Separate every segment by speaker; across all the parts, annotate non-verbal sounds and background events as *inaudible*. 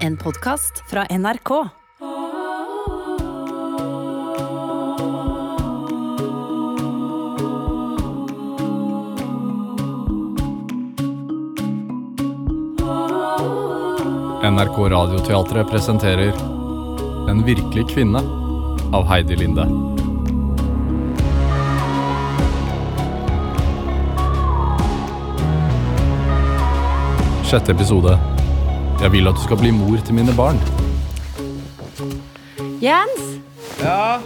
Speaker 1: En podkast fra NRK.
Speaker 2: NRK Radioteatret presenterer En virkelig kvinne av Heidi Linde. Sjette episode. Jeg vil at du skal bli mor til mine barn.
Speaker 3: Jens? Ja?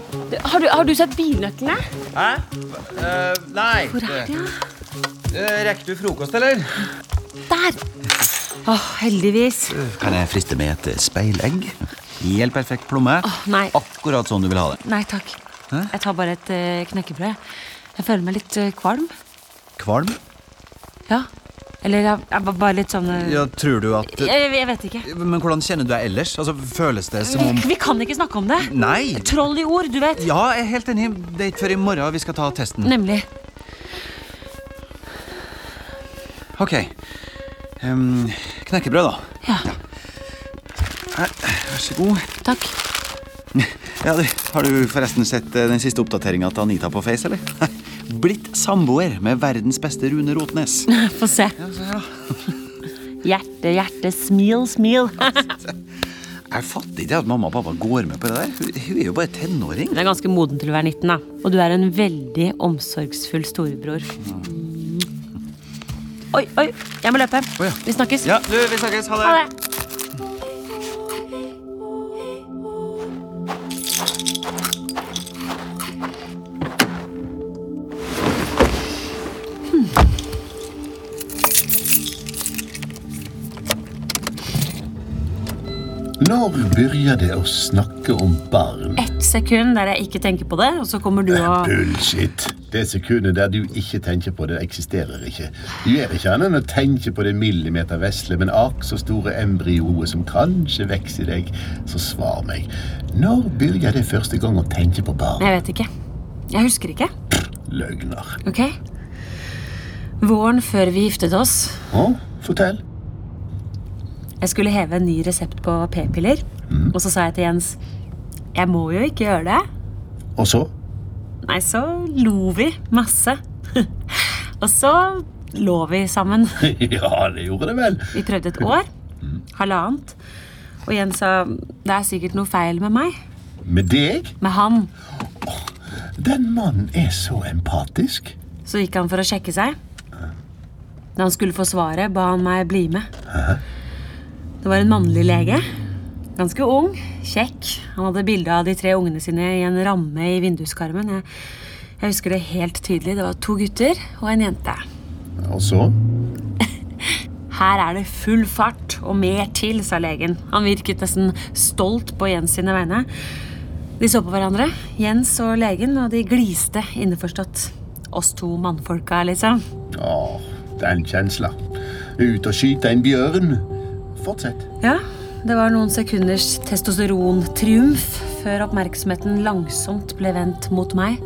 Speaker 3: Har du, har du sett Binøklene?
Speaker 4: Hæ? Eh, nei. Hvor er de? rekker du frokost, eller?
Speaker 3: Der! Åh, heldigvis.
Speaker 4: Kan jeg friste med et speilegg? Helt perfekt plomme.
Speaker 3: Åh, nei.
Speaker 4: Akkurat sånn du vil ha det.
Speaker 3: Nei takk. Jeg tar bare et eh, knekkebrød. Jeg føler meg litt eh, kvalm.
Speaker 4: Kvalm?
Speaker 3: Ja. Eller jeg, jeg var bare litt sånn eh,
Speaker 4: Ja, tror du at
Speaker 3: jeg, jeg vet ikke.
Speaker 4: Men hvordan kjenner du deg ellers? Altså, Føles det som om
Speaker 3: Vi kan ikke snakke om det.
Speaker 4: Nei!
Speaker 3: Troll i ord, du vet.
Speaker 4: Ja, jeg er helt enig. Det er ikke før i morgen vi skal ta testen.
Speaker 3: Nemlig.
Speaker 4: Ok. Ehm, knekkebrød, da.
Speaker 3: Ja,
Speaker 4: Vær så god.
Speaker 3: takk.
Speaker 4: Ja, du, har du forresten sett eh, den siste oppdateringa til Anita på Face, eller? *laughs* Blitt samboer med verdens beste Rune Rotnes.
Speaker 3: Få se. Hjerte, hjerte, smil, smil.
Speaker 4: Jeg fatter ikke at mamma og pappa går med på det der. Hun, hun er jo bare tenåring.
Speaker 3: Hun er ganske moden til å være 19, da. Og du er en veldig omsorgsfull storebror. Oi, oi, jeg må løpe.
Speaker 4: ja.
Speaker 3: Vi snakkes.
Speaker 4: Ja, du, vi snakkes. Ha det.
Speaker 3: Ha det.
Speaker 5: Når begynner det å snakke om barn?
Speaker 3: Ett sekund der jeg ikke tenker på det, og så kommer du og
Speaker 5: Bullshit! Det sekundet der du ikke tenker på det, eksisterer ikke. Du gjør ikke annet enn å tenke på det millimetervesle, men akk så store embryoet som kanskje vokser i deg. Så svar meg. Når begynner det første gang å tenke på barn?
Speaker 3: Jeg vet ikke. Jeg husker ikke.
Speaker 5: Løgner.
Speaker 3: Ok? Våren før vi giftet oss.
Speaker 5: Å, fortell.
Speaker 3: Jeg skulle heve en ny resept på p-piller,
Speaker 4: Mhm.
Speaker 3: og så sa jeg til Jens Jeg må jo ikke gjøre det.
Speaker 5: Og så? *laughs*
Speaker 3: Nei, så lo vi masse. *laughs* og så lå vi sammen.
Speaker 5: ja, det gjorde det vel.
Speaker 3: Vi prøvde et år. Halvannet. Og Jens sa det er sikkert noe feil med meg.
Speaker 5: Med deg?
Speaker 3: Med han.
Speaker 5: Den mannen er så empatisk.
Speaker 3: Så gikk han for å sjekke seg. Da han skulle få svaret, ba han meg bli med. Det var en mannlig lege. Ganske ung, kjekk. Han hadde bilde av de tre ungene sine i en ramme i vinduskarmen. Jeg, jeg husker det helt tydelig. Det var to gutter og en jente.
Speaker 5: Og så?
Speaker 3: Her er det full fart og mer til, sa legen. Han virket nesten stolt på Jens sine vegne. De så på hverandre, Jens og legen, og de gliste innforstått. Oss to mannfolka, liksom.
Speaker 5: Åh, den kjensla. Ut og skyte en bjørn. Fortsett.
Speaker 3: Ja, det var noen sekunders testosterontriumf før oppmerksomheten langsomt ble vendt mot meg.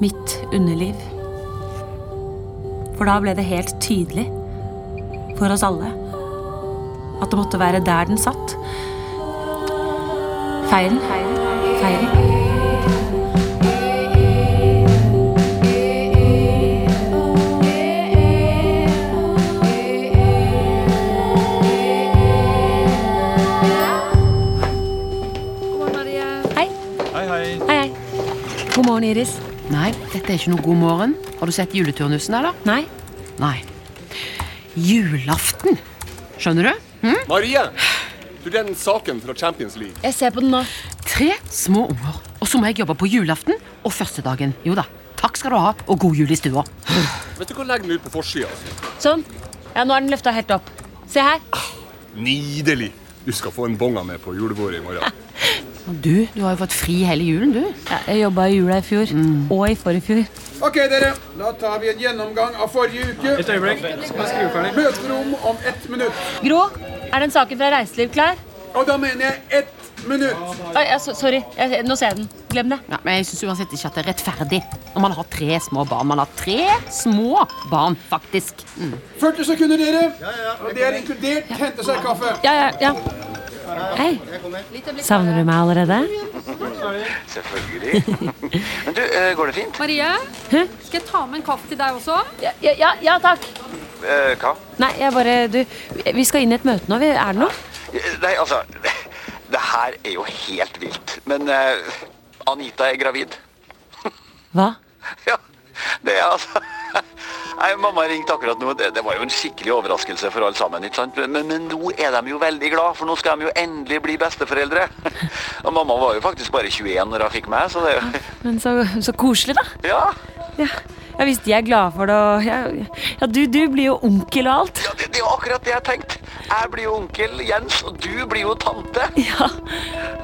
Speaker 3: Mitt underliv. For da ble det helt tydelig for oss alle at det måtte være der den satt. Feilen, feilen. Hei. Hei, hei. God morgen, Iris.
Speaker 6: Nei, dette er ikke noe god morgen. Har du sett juleturnusen, eller?
Speaker 3: Nei,
Speaker 6: Nei. Julaften! Skjønner du?
Speaker 7: Marie! Du, den saken fra Champions League.
Speaker 3: jeg ser på den nå.
Speaker 6: Tre små unger. Og så må jeg jobbe på julaften og første dagen. Jo da. Takk skal du ha, og god jul i stua.
Speaker 7: Vet du hva legger den ut på altså. forsida?
Speaker 3: Sånn. Ja, nå er den løfta helt opp. Se her.
Speaker 7: Nydelig! Du skal få en bonga med på julebordet i morgen.
Speaker 6: Og Du du har jo fått fri hele julen, du.
Speaker 3: Ja, jeg jobba i jula i fjor. Og i forfjor.
Speaker 8: Ok, dere. Da tar vi en gjennomgang av forrige uke. Et øyeblikk. Møterom om ett minutt.
Speaker 3: Gro, er den saken fra Reiseliv klar?
Speaker 8: Og da mener jeg ett minutt.
Speaker 3: Oi, ja, so- sorry, jeg, nå ser jeg den. Glem det.
Speaker 6: Ja, men jeg syns uansett ikke at det er rettferdig når man har tre små barn. Man har tre små barn, faktisk. Mm.
Speaker 8: 40 sekunder, dere. Og det er inkludert hente seg kaffe.
Speaker 3: Ja, ja, ja. Hei. Savner du meg allerede?
Speaker 9: *laughs* Men du, eh, går det fint?
Speaker 10: Marie,
Speaker 3: Hæ?
Speaker 10: skal jeg ta med en kaffe til deg også?
Speaker 3: Ja, ja, ja takk.
Speaker 9: Eh, hva?
Speaker 3: Nei, jeg bare Du, vi skal inn i et møte nå. vi- Er det noe?
Speaker 9: Eh, Nei, altså *laughs* Det her er jo helt vilt. Men eh, Anita er gravid. *laughs*
Speaker 3: Hva?
Speaker 9: Ja, det er altså *laughs* Nei, Mamma ringte akkurat nå. Det, det var jo en skikkelig overraskelse for alle sammen. ikke sant? Men, men nå er de jo veldig glad, for nå skal de jo endelig bli besteforeldre. *laughs* Og mamma var jo faktisk bare 21 når hun fikk meg, så det er jo
Speaker 3: Men så, så koselig, da.
Speaker 9: Ja,
Speaker 3: Ja, ja Hvis de er glade for det og ja, ja, du, du blir jo onkel og alt.
Speaker 9: det, det er jo akkurat det jeg tenkte. Jeg blir jo onkel Jens, og du blir jo tante.
Speaker 3: Ja.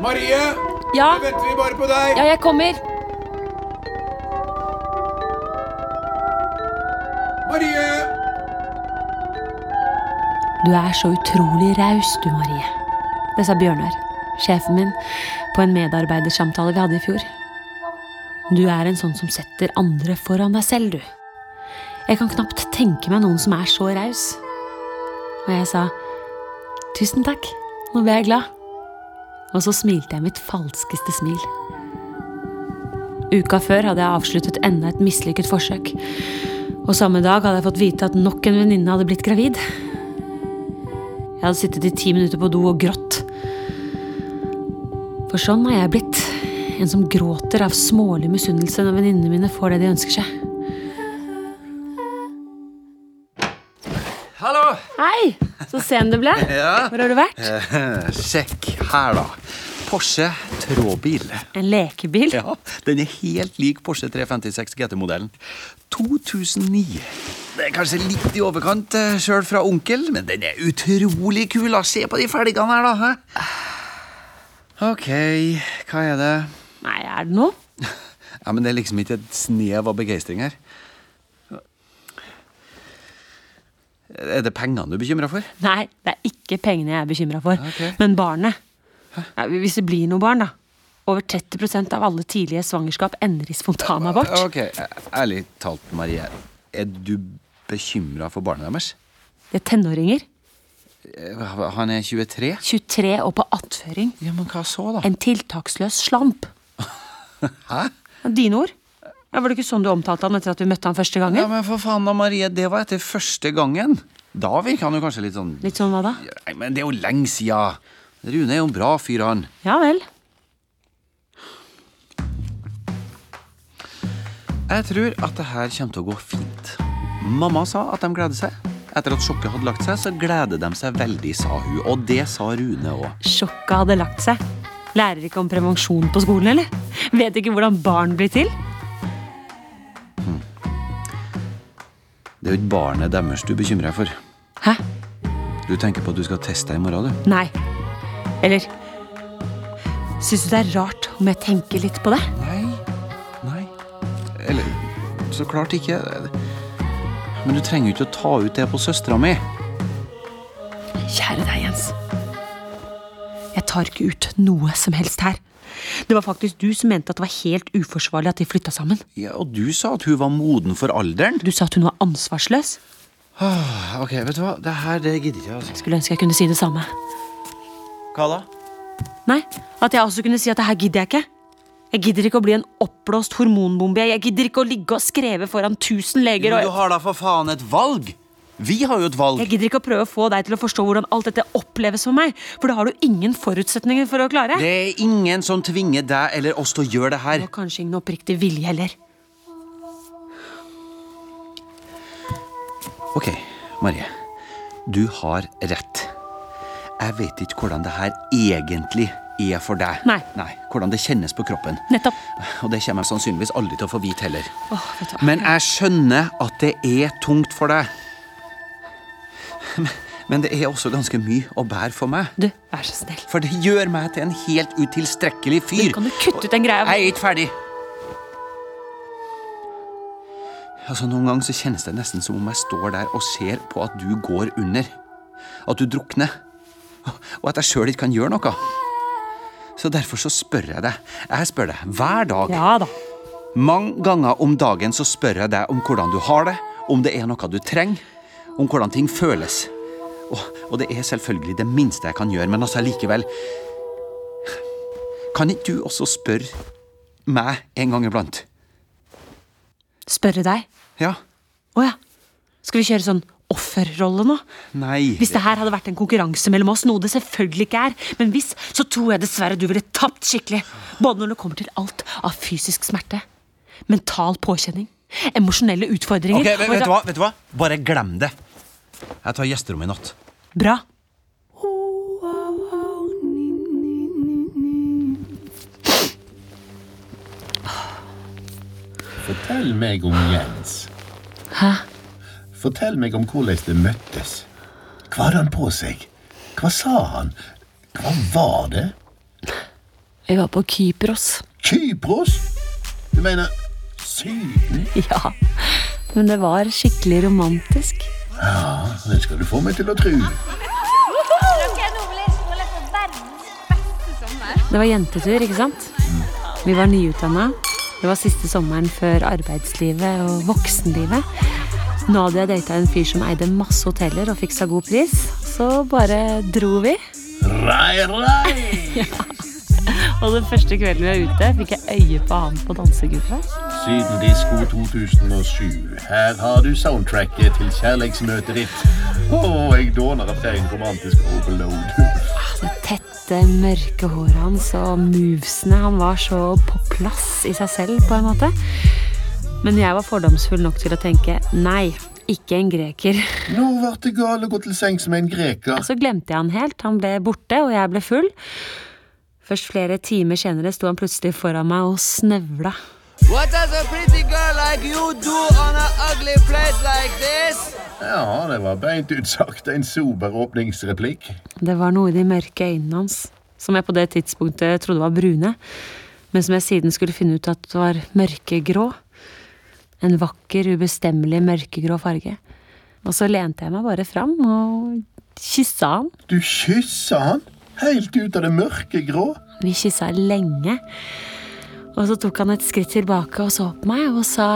Speaker 8: Marie,
Speaker 3: Ja,
Speaker 8: nå venter vi bare på deg.
Speaker 3: ja jeg kommer.
Speaker 8: Marie!
Speaker 3: Du er så utrolig raus, du, Marie. Det sa Bjørnar, sjefen min, på en medarbeidersamtale vi hadde i fjor. Du er en sånn som setter andre foran deg selv, du. Jeg kan knapt tenke meg noen som er så raus. Og jeg sa tusen takk, nå ble jeg glad. Og så smilte jeg mitt falskeste smil. Uka før hadde jeg avsluttet enda et mislykket forsøk. Og samme dag hadde jeg fått vite at nok en venninne hadde blitt gravid. Jeg hadde sittet i ti minutter på do og grått. For sånn er jeg blitt. En som gråter av smålig misunnelse når venninnene mine får det de ønsker seg.
Speaker 11: Hallo!
Speaker 3: Hei! Så sen du ble.
Speaker 4: *laughs* Ja.
Speaker 3: Hvor har du vært?
Speaker 4: Eh, Sjekk her, da. Porsche tråbil.
Speaker 3: En lekebil?
Speaker 4: Ja, Den er helt lik Porsche 356 GT-modellen. 2009. Det er kanskje litt i overkant eh, sjøl fra onkel, men den er utrolig kul. da. Se på de felgene her, da. hæ? Ok, hva er det?
Speaker 3: Nei, er det noe?
Speaker 4: Ja, men Det er liksom ikke et snev av begeistring her. Er det pengene du er bekymra for?
Speaker 3: Nei, det er ikke pengene jeg er bekymra for. Men barnet. Ja, hvis det blir noe barn, da. Over 30 av alle tidlige svangerskap ender i spontanabort.
Speaker 4: Ok, Ærlig talt, Marie. Er du bekymra for barnet deres?
Speaker 3: Det er tenåringer.
Speaker 4: Eh, Han er 23.
Speaker 3: 23 og på attføring.
Speaker 4: Ja, men hva så da?
Speaker 3: En tiltaksløs slamp.
Speaker 4: *laughs* Hæ?
Speaker 3: Dine ord. Ja, var det ikke sånn du omtalte han etter at vi møtte han første gangen?
Speaker 4: Ja, men for faen da, Marie, det var etter første gangen. Da virka han jo kanskje litt sånn
Speaker 3: Litt sånn hva da?
Speaker 4: Nei, men det er jo lenge sia. Rune er jo en bra fyr, han.
Speaker 3: Ja vel.
Speaker 4: Jeg tror at det her kommer til å gå fint. Mamma sa at de gleder seg. Etter at sjokket hadde lagt seg, så gleder de seg veldig, sa hun. Og det sa Rune òg.
Speaker 3: Sjokket hadde lagt seg. Lærer ikke om prevensjon på skolen, eller? Vet ikke hvordan barn blir til?
Speaker 4: Det er jo ikke barnet deres du bekymrer deg for.
Speaker 3: Hæ?
Speaker 4: Du tenker på at du skal teste deg i morgen, du.
Speaker 3: Nei. Eller Syns du det er rart om jeg tenker litt på det?
Speaker 4: Nei. Nei. Eller så klart ikke. Men du trenger jo ikke å ta ut det på søstera mi.
Speaker 3: Kjære deg, Jens. Jeg tar ikke ut noe som helst her. Det var faktisk du som mente at det var helt uforsvarlig at de flytta sammen.
Speaker 4: Ja, og du sa at hun var moden for alderen.
Speaker 3: Du sa at hun var ansvarsløs.
Speaker 4: Ah, ok, vet du hva? Det her det gidder jeg ikke.
Speaker 3: Skulle ønske jeg kunne si det samme.
Speaker 4: Altså. Hva da?
Speaker 3: Nei, At jeg også kunne si at det her gidder jeg ikke. Jeg gidder ikke å bli en oppblåst hormonbombe. Jeg gidder ikke å ligge og skreve foran tusen leger.
Speaker 4: Men du
Speaker 3: Og
Speaker 4: har da for faen et valg! Vi har jo et valg.
Speaker 3: jeg gidder ikke å prøve å få deg til å forstå hvordan alt dette oppleves for meg. For det har du ingen forutsetninger for å klare.
Speaker 4: Det er ingen som tvinger deg eller oss til å gjøre det her.
Speaker 3: Og kanskje ingen oppriktig vilje heller.
Speaker 4: Ok, Marie. Du har rett. Jeg vet ikke hvordan det her egentlig er for deg.
Speaker 3: Nei.
Speaker 4: Hvordan det kjennes på kroppen.
Speaker 3: Nettopp.
Speaker 4: Og det kommer jeg sannsynligvis aldri til å få vite heller.
Speaker 3: Åh, vet du hva?
Speaker 4: Men jeg skjønner at det er tungt for deg. Men- Men det er også ganske mye å bære for meg.
Speaker 3: Du, vær så snill.
Speaker 4: For det gjør meg til en helt utilstrekkelig fyr.
Speaker 3: Kan du kutte ut den greia?
Speaker 4: Jeg er ikke ferdig. Altså, Noen ganger så kjennes det nesten som om jeg står der og ser på at du går under. At du drukner. Og at jeg sjøl ikke kan gjøre noe. Så derfor så spør jeg deg. Jeg spør deg hver dag.
Speaker 3: Ja da.
Speaker 4: Mange ganger om dagen så spør jeg deg om hvordan du har det, om det er noe du trenger, om hvordan ting føles. Og, og det er selvfølgelig det minste jeg kan gjøre, men altså likevel Kan ikke du også spørre meg en gang iblant?
Speaker 3: Spørre deg?
Speaker 4: Ja.
Speaker 3: Å ja. Skal vi kjøre sånn offerrolle nå?
Speaker 4: Nei
Speaker 3: Hvis det her hadde vært en konkurranse mellom oss, noe det selvfølgelig ikke er, men hvis, så tror jeg dessverre du ville tapt skikkelig. Både når det kommer til alt av fysisk smerte, mental påkjenning, emosjonelle utfordringer
Speaker 4: Ok, vet,
Speaker 3: og
Speaker 4: vet,
Speaker 3: ra-
Speaker 4: du hva? vet du hva? Bare glem det. Jeg tar gjesterommet i natt.
Speaker 3: Bra.
Speaker 5: Fortell meg om Jens.
Speaker 3: Hæ?
Speaker 5: Fortell meg om hvordan det møttes. Hva hadde han på seg? Hva sa han? Hva var det?
Speaker 3: Jeg var på Kypros.
Speaker 5: Kypros? Du mener Syden?
Speaker 3: Ja. Men det var skikkelig romantisk.
Speaker 5: Ja, det skal du få meg til å tro.
Speaker 3: Det var jentetur, ikke sant? Vi var nyutdanna. Det var siste sommeren før arbeidslivet og voksenlivet. Nå hadde jeg data en fyr som eide masse hoteller og fiksa god pris. Så bare dro vi.
Speaker 5: Rei, rei!
Speaker 3: ja. Og den første kvelden vi var ute, fikk jeg øye på han på dansegulvet.
Speaker 5: Syden Disko 2007. Her har du soundtracket til kjærlighetsmøtet ditt. Å, jeg dåner etter en romantisk overload.
Speaker 3: Det tette, mørke håret hans og movesene. Han var så på plass i seg selv, på en måte. Men jeg var fordomsfull nok til å tenke nei, ikke en greker. *laughs*
Speaker 5: Nå ble det gale å gå til sengs med en greker.
Speaker 3: Så glemte jeg han helt. Han ble borte, og jeg ble full. Først flere timer senere sto han plutselig foran meg og snøvla.
Speaker 12: What does a pretty girl like you do on an ugly place like this?
Speaker 5: Ja, det var beint ut sagt en sober åpningsreplikk.
Speaker 3: Det var noe i de mørke øynene hans, som jeg på det tidspunktet trodde var brune, men som jeg siden skulle finne ut at var mørkegrå. En vakker, ubestemmelig mørkegrå farge. Og så lente jeg meg bare fram og kyssa han.
Speaker 5: Du kyssa han? Helt ut av det mørke grå?
Speaker 3: Vi kyssa lenge. Og så tok han et skritt tilbake og så på meg og sa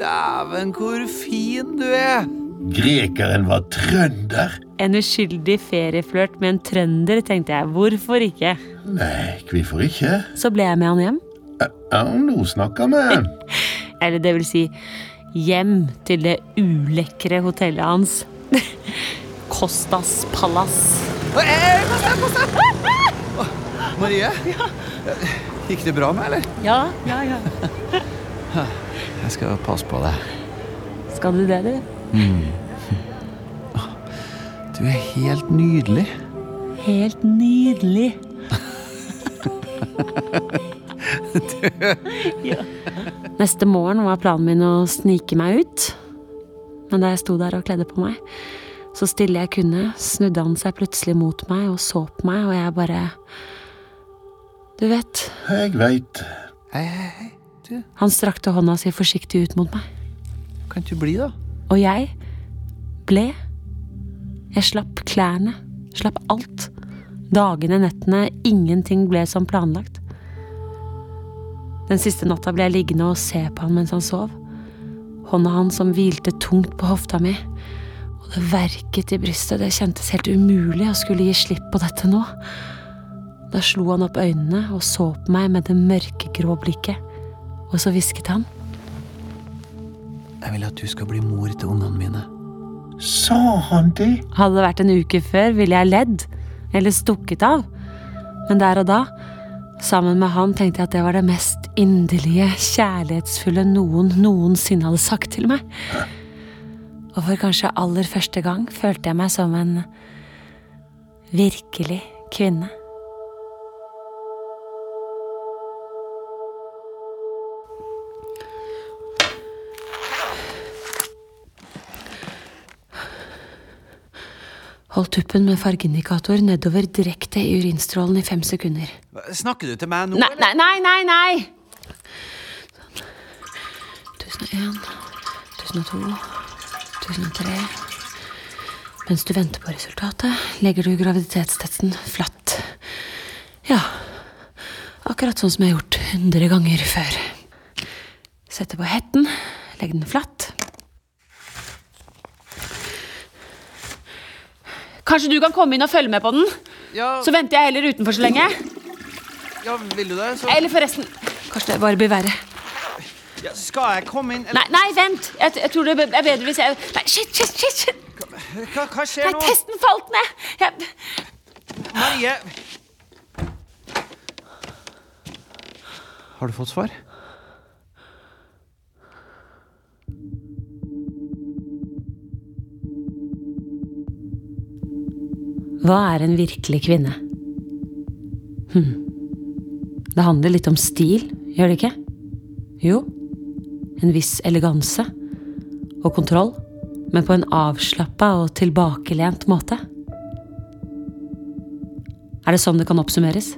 Speaker 12: Dæven, hvor fin du er!
Speaker 5: Grekeren var trønder.
Speaker 3: En uskyldig ferieflørt med en trønder, tenkte jeg. Hvorfor ikke?
Speaker 5: Nei, hvorfor ikke?
Speaker 3: Så ble jeg med han hjem.
Speaker 5: Ja, nå snakker vi.
Speaker 3: Eller det vil si hjem til det ulekre hotellet hans. *laughs* Kostas palass.
Speaker 4: Marie? Gikk det bra med eller?
Speaker 3: Ja, ja, ja.
Speaker 4: Jeg skal passe på deg.
Speaker 3: Skal du det, du?
Speaker 4: Du er helt nydelig.
Speaker 3: Helt *laughs* nydelig. Neste morgen var planen min å snike meg ut. Men da jeg sto der og kledde på meg, så stille jeg kunne, snudde han seg plutselig mot meg og så på meg, og jeg bare Du vet.
Speaker 5: Jeg veit.
Speaker 3: Han strakte hånda si forsiktig ut mot meg.
Speaker 4: Kan ikke du bli, da?
Speaker 3: Og jeg ble. Jeg slapp klærne. Slapp alt. Dagene, nettene, ingenting ble som planlagt. Den siste natta ble jeg liggende og se på han mens han sov. Hånda hans som hvilte tungt på hofta mi. Og det verket i brystet. Det kjentes helt umulig å skulle gi slipp på dette nå. Da slo han opp øynene og så på meg med det mørkegrå blikket. Og så hvisket han.
Speaker 4: Jeg vil at du skal bli mor til ungene mine.
Speaker 5: Sa han det?
Speaker 3: Hadde det vært en uke før, ville jeg ledd. Eller stukket av. Men der og da, sammen med han, tenkte jeg at det var det mest inderlige, kjærlighetsfulle noen noensinne hadde sagt til meg. Og for kanskje aller første gang følte jeg meg som en virkelig kvinne. Holdt tuppen med fargeindikator nedover direkte i urinstrålen i fem sekunder.
Speaker 4: Snakker du til meg nå?
Speaker 3: Nei, nei, nei, nei! nei. 1001, 1002, 1003 Mens du venter på resultatet, legger du graviditetstesten flatt. Ja, akkurat sånn som jeg har gjort 100 ganger før. Setter på hetten, legger den flatt.
Speaker 13: Kanskje du kan komme inn og følge med på den?
Speaker 14: Ja.
Speaker 13: Så venter jeg heller utenfor så lenge.
Speaker 14: Ja, vil du det? Så...
Speaker 13: Eller forresten Kanskje det bare blir verre.
Speaker 14: Ja, skal jeg komme inn?
Speaker 13: Nei, nei, vent. Jeg, t- jeg tror det er bedre hvis jeg Nei, shit, shit, shit. shit.
Speaker 14: Hva, hva skjer
Speaker 13: Nei,
Speaker 14: nå?
Speaker 13: testen falt ned. Jeg,
Speaker 14: Marie!
Speaker 4: Har du fått svar?
Speaker 11: Hva er en virkelig kvinne? Hm. Det handler litt om stil, gjør det ikke? Jo. En viss eleganse. Og kontroll. Men på en avslappa og tilbakelent måte. Er det sånn det kan oppsummeres?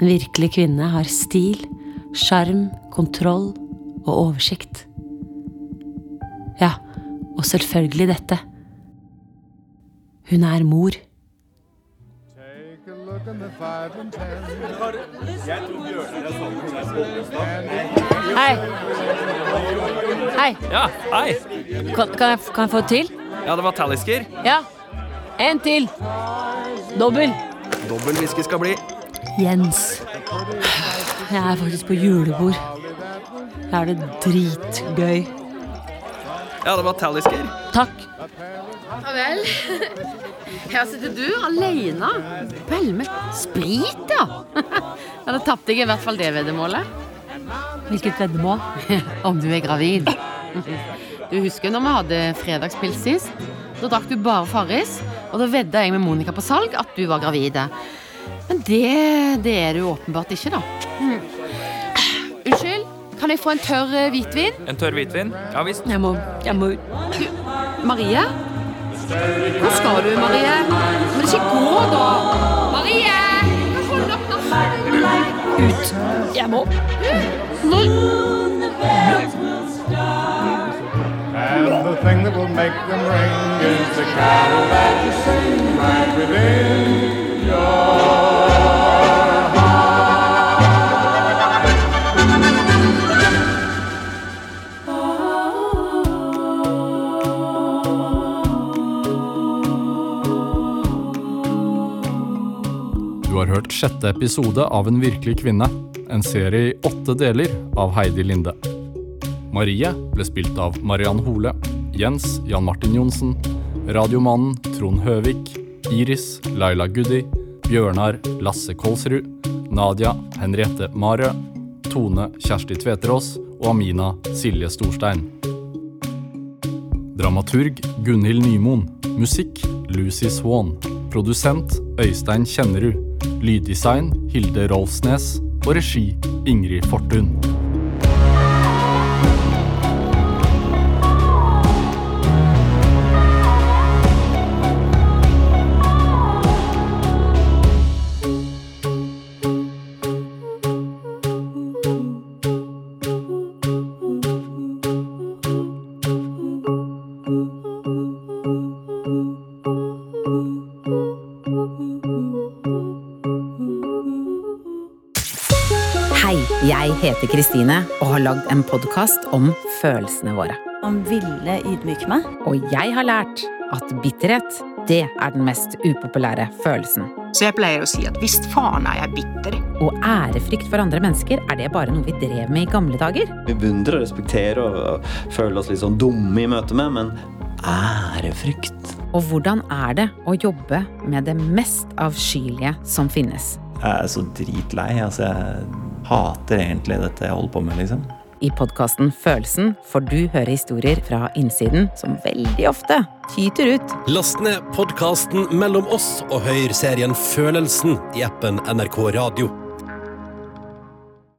Speaker 11: En virkelig kvinne har stil, sjarm, kontroll og oversikt. Ja, og selvfølgelig dette. Hun er mor.
Speaker 13: Hei. Hei.
Speaker 15: Ja, hei.
Speaker 13: Kan, kan, jeg, kan jeg få et til?
Speaker 15: Ja, det var tallisker.
Speaker 13: Ja. En til. Dobbel.
Speaker 15: Dobbel whisky skal bli.
Speaker 11: Jens. Jeg er faktisk på julebord. Jeg har det dritgøy.
Speaker 15: Ja, det var tallisker.
Speaker 11: Takk.
Speaker 16: Ja vel. *laughs* Her sitter du alene. Vel med sprit, ja.
Speaker 6: *laughs*
Speaker 16: Ja, Da tapte jeg i hvert fall det veddemålet.
Speaker 11: Hvilket veddemål?
Speaker 16: *laughs* Om du er gravid. Du husker når vi hadde fredagspils sist? Da drakk du bare Farris, og da vedda jeg med Monica på salg at du var gravid. Men det, det er du åpenbart ikke, da. Mm. Unnskyld, kan jeg få en tørr eh, hvitvin?
Speaker 15: En tørr hvitvin? Ja visst.
Speaker 11: Jeg må, jeg må
Speaker 16: Marie? Hvor skal du, Marie? Men ikke gå, da! Marie!
Speaker 13: Ut. Jeg må
Speaker 17: And the thing that will make them ring is the carol that you sing right within your
Speaker 2: Du har hørt sjette episode av En virkelig kvinne, en serie i åtte deler av Heidi Linde. Marie ble spilt av Mariann Hole, Jens Jan Martin Johnsen, Radiomannen Trond Høvik, Iris Laila Guddi, Bjørnar Lasse Kolsrud, Nadia Henriette Marø, Tone Kjersti Tveterås og Amina Silje Storstein. Dramaturg Gunhild Nymoen. Musikk Lucy Swan. Produsent Øystein Kjennerud. Lyddesign Hilde Rolfsnes. Og regi Ingrid Fortun.
Speaker 18: Hei, jeg heter Kristine og har lagd en podkast om følelsene våre.
Speaker 19: Han ville ydmyke meg.
Speaker 18: Og jeg har lært at bitterhet, det er den mest upopulære følelsen.
Speaker 20: Så jeg pleier å si at visst faen er jeg bitter.
Speaker 18: Og ærefrykt for andre mennesker, er det bare noe vi drev med i gamle dager?
Speaker 21: Vi beundrer og respekterer og, og føler oss litt sånn dumme i møte med, men ærefrykt
Speaker 18: Og hvordan er det å jobbe med det mest avskyelige som finnes?
Speaker 21: Jeg er så dritlei. Altså, jeg hater egentlig dette jeg holder på med, liksom.
Speaker 18: I podkasten Følelsen får du høre historier fra innsiden som veldig ofte tyter ut.
Speaker 22: Last ned podkasten Mellom oss og hør serien Følelsen i appen NRK Radio.